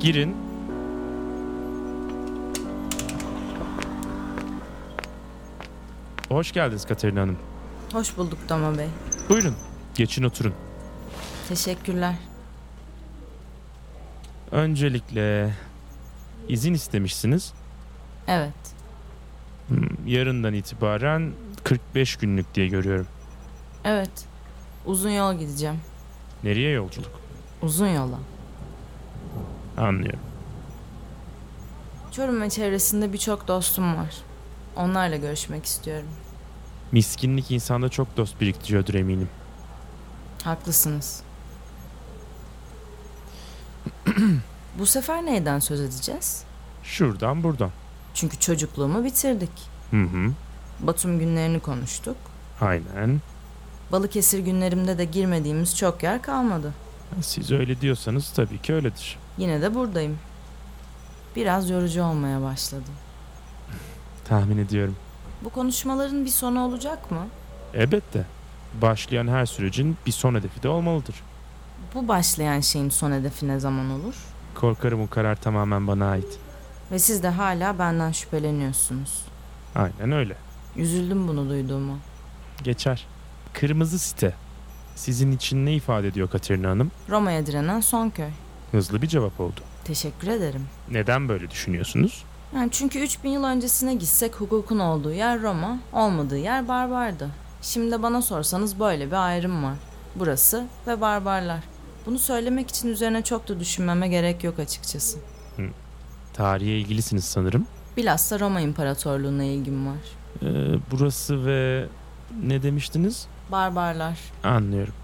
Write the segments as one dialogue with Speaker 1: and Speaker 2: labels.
Speaker 1: girin. Hoş geldiniz Katerina Hanım.
Speaker 2: Hoş bulduk Doma Bey.
Speaker 1: Buyurun, geçin oturun.
Speaker 2: Teşekkürler.
Speaker 1: Öncelikle izin istemişsiniz.
Speaker 2: Evet.
Speaker 1: Hmm, Yarından itibaren 45 günlük diye görüyorum.
Speaker 2: Evet. Uzun yol gideceğim.
Speaker 1: Nereye yolculuk?
Speaker 2: Uzun yola.
Speaker 1: Anlıyorum.
Speaker 2: Çorum ve çevresinde birçok dostum var. Onlarla görüşmek istiyorum.
Speaker 1: Miskinlik insanda çok dost biriktiriyordur eminim.
Speaker 2: Haklısınız. Bu sefer neyden söz edeceğiz?
Speaker 1: Şuradan buradan.
Speaker 2: Çünkü çocukluğumu bitirdik.
Speaker 1: Hı hı.
Speaker 2: Batum günlerini konuştuk.
Speaker 1: Aynen.
Speaker 2: Balıkesir günlerimde de girmediğimiz çok yer kalmadı.
Speaker 1: Siz öyle diyorsanız tabii ki öyledir.
Speaker 2: Yine de buradayım. Biraz yorucu olmaya başladı.
Speaker 1: Tahmin ediyorum.
Speaker 2: Bu konuşmaların bir sonu olacak mı?
Speaker 1: Elbette. Başlayan her sürecin bir son hedefi de olmalıdır.
Speaker 2: Bu başlayan şeyin son hedefi ne zaman olur?
Speaker 1: Korkarım o karar tamamen bana ait.
Speaker 2: Ve siz de hala benden şüpheleniyorsunuz.
Speaker 1: Aynen öyle.
Speaker 2: Üzüldüm bunu duyduğuma.
Speaker 1: Geçer. Kırmızı site. Sizin için ne ifade ediyor Katerina Hanım?
Speaker 2: Roma'ya direnen son köy.
Speaker 1: Hızlı bir cevap oldu.
Speaker 2: Teşekkür ederim.
Speaker 1: Neden böyle düşünüyorsunuz?
Speaker 2: Yani çünkü 3000 yıl öncesine gitsek hukukun olduğu yer Roma, olmadığı yer barbardı. Şimdi de bana sorsanız böyle bir ayrım var. Burası ve barbarlar. Bunu söylemek için üzerine çok da düşünmeme gerek yok açıkçası.
Speaker 1: Tarihe ilgilisiniz sanırım.
Speaker 2: Bilhassa Roma İmparatorluğu'na ilgim var.
Speaker 1: Ee, burası ve ne demiştiniz?
Speaker 2: Barbarlar,
Speaker 1: Anlıyorum.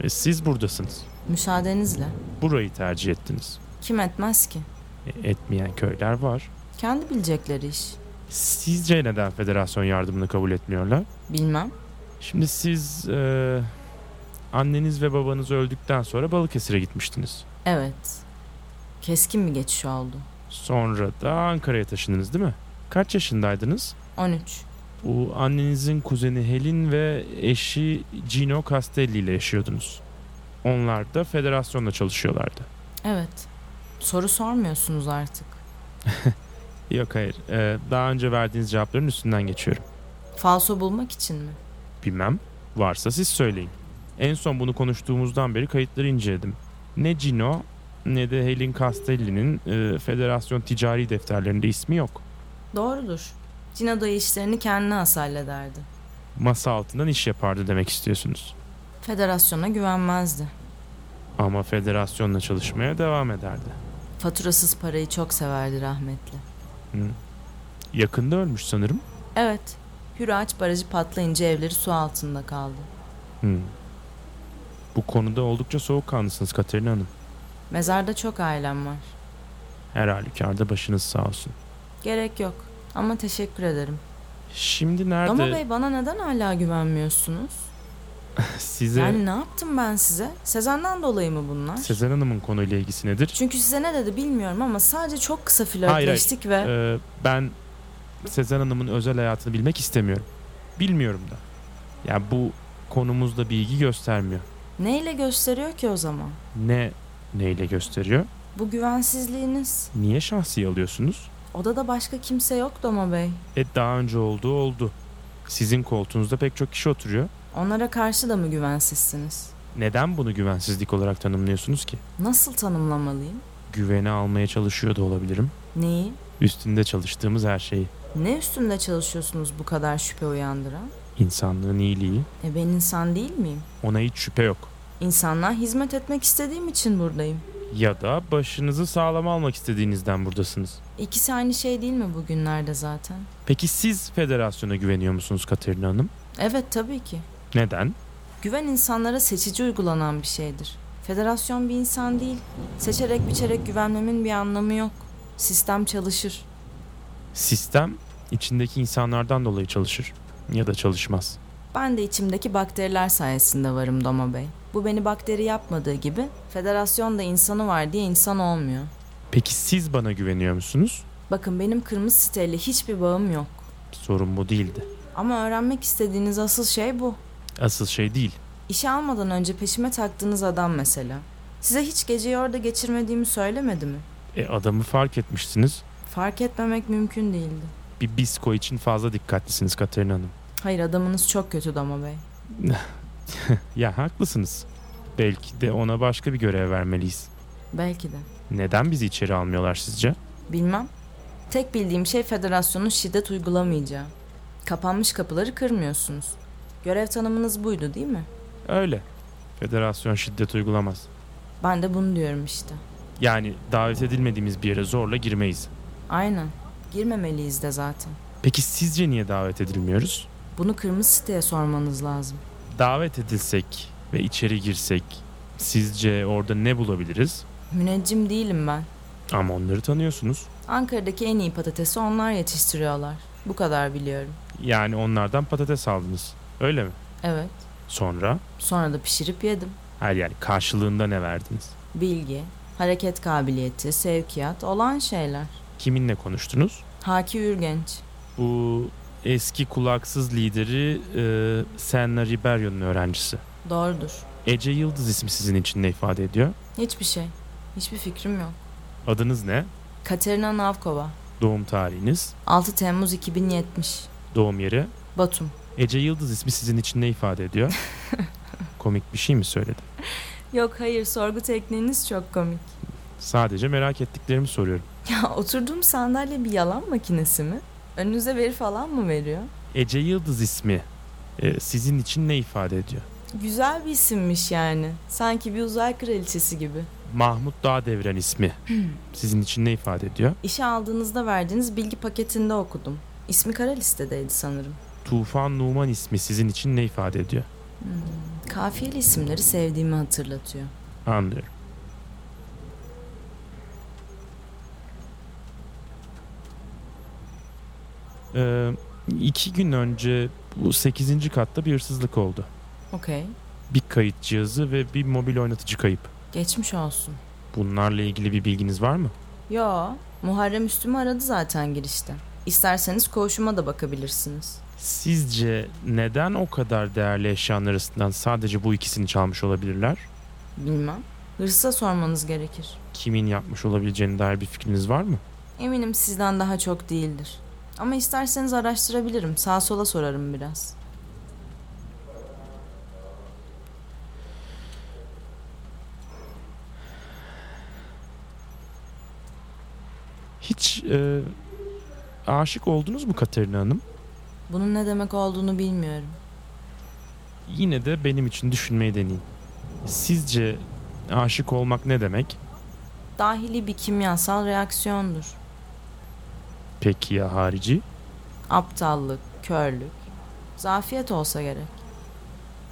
Speaker 1: E, siz buradasınız.
Speaker 2: müsaadenizle.
Speaker 1: Burayı tercih ettiniz.
Speaker 2: Kim etmez ki?
Speaker 1: E, etmeyen köyler var.
Speaker 2: Kendi bilecekleri iş.
Speaker 1: Sizce neden federasyon yardımını kabul etmiyorlar?
Speaker 2: Bilmem.
Speaker 1: Şimdi siz e, anneniz ve babanız öldükten sonra Balıkesir'e gitmiştiniz.
Speaker 2: Evet. Keskin bir geçiş oldu.
Speaker 1: Sonra da Ankara'ya taşındınız değil mi? Kaç yaşındaydınız?
Speaker 2: 13.
Speaker 1: Bu annenizin kuzeni Helin ve eşi Gino Castelli ile yaşıyordunuz. Onlar da federasyonla çalışıyorlardı.
Speaker 2: Evet. Soru sormuyorsunuz artık.
Speaker 1: Yok hayır. e, daha önce verdiğiniz cevapların üstünden geçiyorum.
Speaker 2: Falso bulmak için mi?
Speaker 1: Bilmem. Varsa siz söyleyin. En son bunu konuştuğumuzdan beri kayıtları inceledim. Ne Gino ne de Helin Castelli'nin e, federasyon ticari defterlerinde ismi yok.
Speaker 2: Doğrudur. Cina dayı işlerini kendine has hallederdi.
Speaker 1: Masa altından iş yapardı demek istiyorsunuz.
Speaker 2: Federasyona güvenmezdi.
Speaker 1: Ama federasyonla çalışmaya devam ederdi.
Speaker 2: Faturasız parayı çok severdi rahmetli.
Speaker 1: Yakında ölmüş sanırım.
Speaker 2: Evet. Hüraç barajı patlayınca evleri su altında kaldı.
Speaker 1: Hmm. Bu konuda oldukça soğukkanlısınız Katerina Hanım.
Speaker 2: Mezarda çok ailem var.
Speaker 1: Her halükarda başınız sağ olsun.
Speaker 2: Gerek yok. Ama teşekkür ederim.
Speaker 1: Şimdi nerede
Speaker 2: Dama Bey bana neden hala güvenmiyorsunuz?
Speaker 1: size
Speaker 2: Yani ne yaptım ben size? Sezen'den dolayı mı bunlar?
Speaker 1: Sezen Hanım'ın konuyla ilgisi nedir?
Speaker 2: Çünkü size ne dedi bilmiyorum ama sadece çok kısa
Speaker 1: hayır.
Speaker 2: flörtleştik ve
Speaker 1: Ee, ben Sezen Hanım'ın özel hayatını bilmek istemiyorum. Bilmiyorum da. Ya bu konumuzda bilgi göstermiyor.
Speaker 2: neyle gösteriyor ki o zaman?
Speaker 1: Ne neyle gösteriyor?
Speaker 2: Bu güvensizliğiniz.
Speaker 1: Niye şahsi alıyorsunuz?
Speaker 2: Odada başka kimse yok Doma Bey.
Speaker 1: E daha önce olduğu oldu. Sizin koltuğunuzda pek çok kişi oturuyor.
Speaker 2: Onlara karşı da mı güvensizsiniz?
Speaker 1: Neden bunu güvensizlik olarak tanımlıyorsunuz ki?
Speaker 2: Nasıl tanımlamalıyım?
Speaker 1: Güvene almaya çalışıyor da olabilirim.
Speaker 2: Neyi?
Speaker 1: Üstünde çalıştığımız her şey, şeyi.
Speaker 2: Ne üstünde çalışıyorsunuz bu kadar şüphe uyandıran?
Speaker 1: İnsanlığın iyiliği.
Speaker 2: E ben insan değil miyim?
Speaker 1: Ona hiç şüphe yok.
Speaker 2: İnsanlığa hizmet etmek istediğim için buradayım.
Speaker 1: Ya da başınızı sağlam almak istediğinizden buradasınız.
Speaker 2: İkisi aynı şey değil mi bugünlerde zaten?
Speaker 1: Peki siz federasyona güveniyor musunuz Katerina Hanım?
Speaker 2: Evet tabii ki.
Speaker 1: Neden?
Speaker 2: Güven insanlara seçici uygulanan bir şeydir. Federasyon bir insan değil. Seçerek biçerek güvenmemin bir anlamı yok. Sistem çalışır.
Speaker 1: Sistem içindeki insanlardan dolayı çalışır. Ya da çalışmaz.
Speaker 2: Ben de içimdeki bakteriler sayesinde varım Doma Bey. Bu beni bakteri yapmadığı gibi federasyonda insanı var diye insan olmuyor.
Speaker 1: Peki siz bana güveniyor musunuz?
Speaker 2: Bakın benim kırmızı siteyle hiçbir bağım yok.
Speaker 1: Sorun bu değildi.
Speaker 2: Ama öğrenmek istediğiniz asıl şey bu.
Speaker 1: Asıl şey değil.
Speaker 2: İşe almadan önce peşime taktığınız adam mesela. Size hiç geceyi orada geçirmediğimi söylemedi mi?
Speaker 1: E adamı fark etmişsiniz.
Speaker 2: Fark etmemek mümkün değildi.
Speaker 1: Bir bisko için fazla dikkatlisiniz Katerina Hanım.
Speaker 2: Hayır adamınız çok kötü Dama Bey.
Speaker 1: Ya haklısınız. Belki de ona başka bir görev vermeliyiz.
Speaker 2: Belki de.
Speaker 1: Neden bizi içeri almıyorlar sizce?
Speaker 2: Bilmem. Tek bildiğim şey federasyonun şiddet uygulamayacağı. Kapanmış kapıları kırmıyorsunuz. Görev tanımınız buydu değil mi?
Speaker 1: Öyle. Federasyon şiddet uygulamaz.
Speaker 2: Ben de bunu diyorum işte.
Speaker 1: Yani davet edilmediğimiz bir yere zorla girmeyiz.
Speaker 2: Aynen. Girmemeliyiz de zaten.
Speaker 1: Peki sizce niye davet edilmiyoruz?
Speaker 2: Bunu kırmızı siteye sormanız lazım.
Speaker 1: Davet edilsek ve içeri girsek sizce orada ne bulabiliriz?
Speaker 2: Müneccim değilim ben.
Speaker 1: Ama onları tanıyorsunuz.
Speaker 2: Ankara'daki en iyi patatesi onlar yetiştiriyorlar. Bu kadar biliyorum.
Speaker 1: Yani onlardan patates aldınız. Öyle mi?
Speaker 2: Evet.
Speaker 1: Sonra?
Speaker 2: Sonra da pişirip yedim.
Speaker 1: Hayır yani karşılığında ne verdiniz?
Speaker 2: Bilgi, hareket kabiliyeti, sevkiyat olan şeyler.
Speaker 1: Kiminle konuştunuz?
Speaker 2: Haki Ürgenç.
Speaker 1: Bu eski kulaksız lideri e, Senna Riberio'nun öğrencisi.
Speaker 2: Doğrudur.
Speaker 1: Ece Yıldız ismi sizin için ne ifade ediyor?
Speaker 2: Hiçbir şey. Hiçbir fikrim yok.
Speaker 1: Adınız ne?
Speaker 2: Katerina Navkova.
Speaker 1: Doğum tarihiniz?
Speaker 2: 6 Temmuz 2070.
Speaker 1: Doğum yeri?
Speaker 2: Batum.
Speaker 1: Ece Yıldız ismi sizin için ne ifade ediyor? Komik bir şey mi söyledim?
Speaker 2: Yok hayır sorgu tekniğiniz çok komik.
Speaker 1: Sadece merak ettiklerimi soruyorum.
Speaker 2: Ya oturduğum sandalye bir yalan makinesi mi? Önünüze veri falan mı veriyor?
Speaker 1: Ece Yıldız ismi e, sizin için ne ifade ediyor?
Speaker 2: Güzel bir isimmiş yani. Sanki bir uzay kraliçesi gibi.
Speaker 1: Mahmut Dağdevren ismi sizin için ne ifade ediyor?
Speaker 2: İşe aldığınızda verdiğiniz bilgi paketinde okudum. İsmi kara listedeydi sanırım.
Speaker 1: Tufan Numan ismi sizin için ne ifade ediyor?
Speaker 2: Kafiyeli isimleri sevdiğimi hatırlatıyor.
Speaker 1: Anlıyorum. Ee, iki gün önce bu 8. katta bir hırsızlık oldu.
Speaker 2: Okey.
Speaker 1: Bir kayıt cihazı ve bir mobil oynatıcı kayıp.
Speaker 2: Geçmiş olsun.
Speaker 1: Bunlarla ilgili bir bilginiz var mı?
Speaker 2: Yo, Muharrem üstümü aradı zaten girişte. İsterseniz koğuşuma da bakabilirsiniz.
Speaker 1: Sizce neden o kadar değerli eşyanın arasından sadece bu ikisini çalmış olabilirler?
Speaker 2: Bilmem. Hırsıza sormanız gerekir.
Speaker 1: Kimin yapmış olabileceğine dair bir fikriniz var mı?
Speaker 2: Eminim sizden daha çok değildir. Ama isterseniz araştırabilirim. Sağa sola sorarım biraz.
Speaker 1: Hiç e, aşık oldunuz mu Katerina Hanım?
Speaker 2: Bunun ne demek olduğunu bilmiyorum.
Speaker 1: Yine de benim için düşünmeyi deneyin. Sizce aşık olmak ne demek?
Speaker 2: Dahili bir kimyasal reaksiyondur.
Speaker 1: Peki ya harici?
Speaker 2: Aptallık, körlük, zafiyet olsa gerek.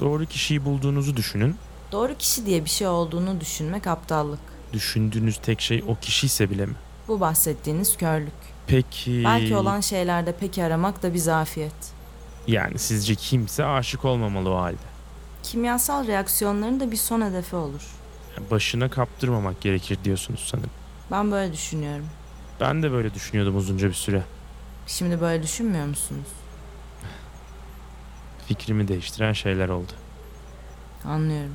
Speaker 1: Doğru kişiyi bulduğunuzu düşünün.
Speaker 2: Doğru kişi diye bir şey olduğunu düşünmek aptallık.
Speaker 1: Düşündüğünüz tek şey o kişi ise bile mi?
Speaker 2: Bu bahsettiğiniz körlük.
Speaker 1: Peki...
Speaker 2: Belki olan şeylerde peki aramak da bir zafiyet.
Speaker 1: Yani sizce kimse aşık olmamalı o halde.
Speaker 2: Kimyasal reaksiyonların da bir son hedefi olur.
Speaker 1: Yani Başına kaptırmamak gerekir diyorsunuz sanırım.
Speaker 2: Ben böyle düşünüyorum.
Speaker 1: Ben de böyle düşünüyordum uzunca bir süre.
Speaker 2: Şimdi böyle düşünmüyor musunuz?
Speaker 1: Fikrimi değiştiren şeyler oldu.
Speaker 2: Anlıyorum.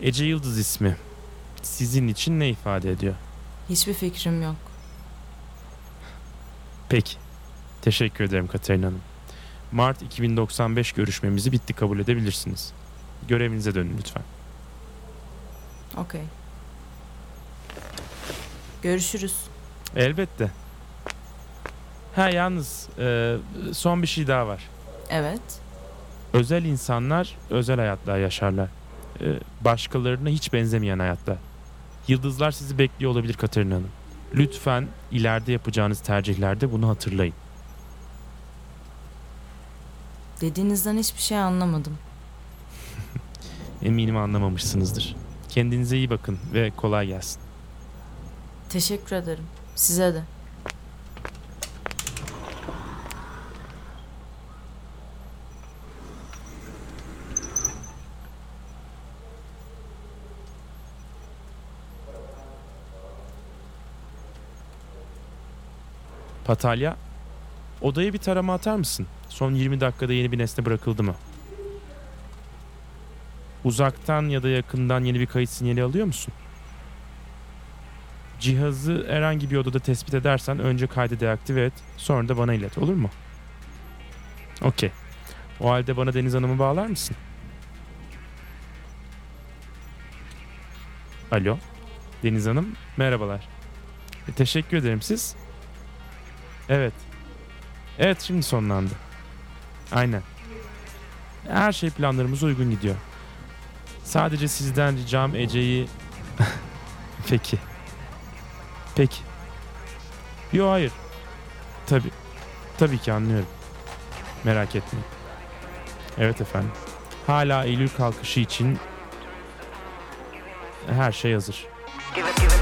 Speaker 1: Ece Yıldız ismi. Sizin için ne ifade ediyor?
Speaker 2: Hiçbir fikrim yok.
Speaker 1: Peki. Teşekkür ederim Katerina Hanım. Mart 2095 görüşmemizi bitti kabul edebilirsiniz. Görevinize dönün lütfen.
Speaker 2: Okey. Görüşürüz.
Speaker 1: Elbette. Ha yalnız e, son bir şey daha var.
Speaker 2: Evet.
Speaker 1: Özel insanlar özel hayatlar yaşarlar. E, başkalarına hiç benzemeyen hayatlar. Yıldızlar sizi bekliyor olabilir Katerina Hanım. Lütfen ileride yapacağınız tercihlerde bunu hatırlayın.
Speaker 2: Dediğinizden hiçbir şey anlamadım.
Speaker 1: Eminim anlamamışsınızdır. Kendinize iyi bakın ve kolay gelsin.
Speaker 2: Teşekkür ederim. Size de.
Speaker 1: Patalya, odaya bir tarama atar mısın? Son 20 dakikada yeni bir nesne bırakıldı mı? Uzaktan ya da yakından yeni bir kayıt sinyali alıyor musun? Cihazı herhangi bir odada tespit edersen önce kaydı deaktive et. Sonra da bana ilet olur mu? Okey. O halde bana Deniz Hanım'ı bağlar mısın? Alo. Deniz Hanım merhabalar. E, teşekkür ederim siz. Evet. Evet şimdi sonlandı. Aynen. Her şey planlarımıza uygun gidiyor. Sadece sizden ricam Ece'yi... Peki. Peki. Yo hayır. Tabi. Tabii ki anlıyorum. Merak etmeyin. Evet efendim. Hala Eylül kalkışı için her şey hazır.
Speaker 3: Give it, give it.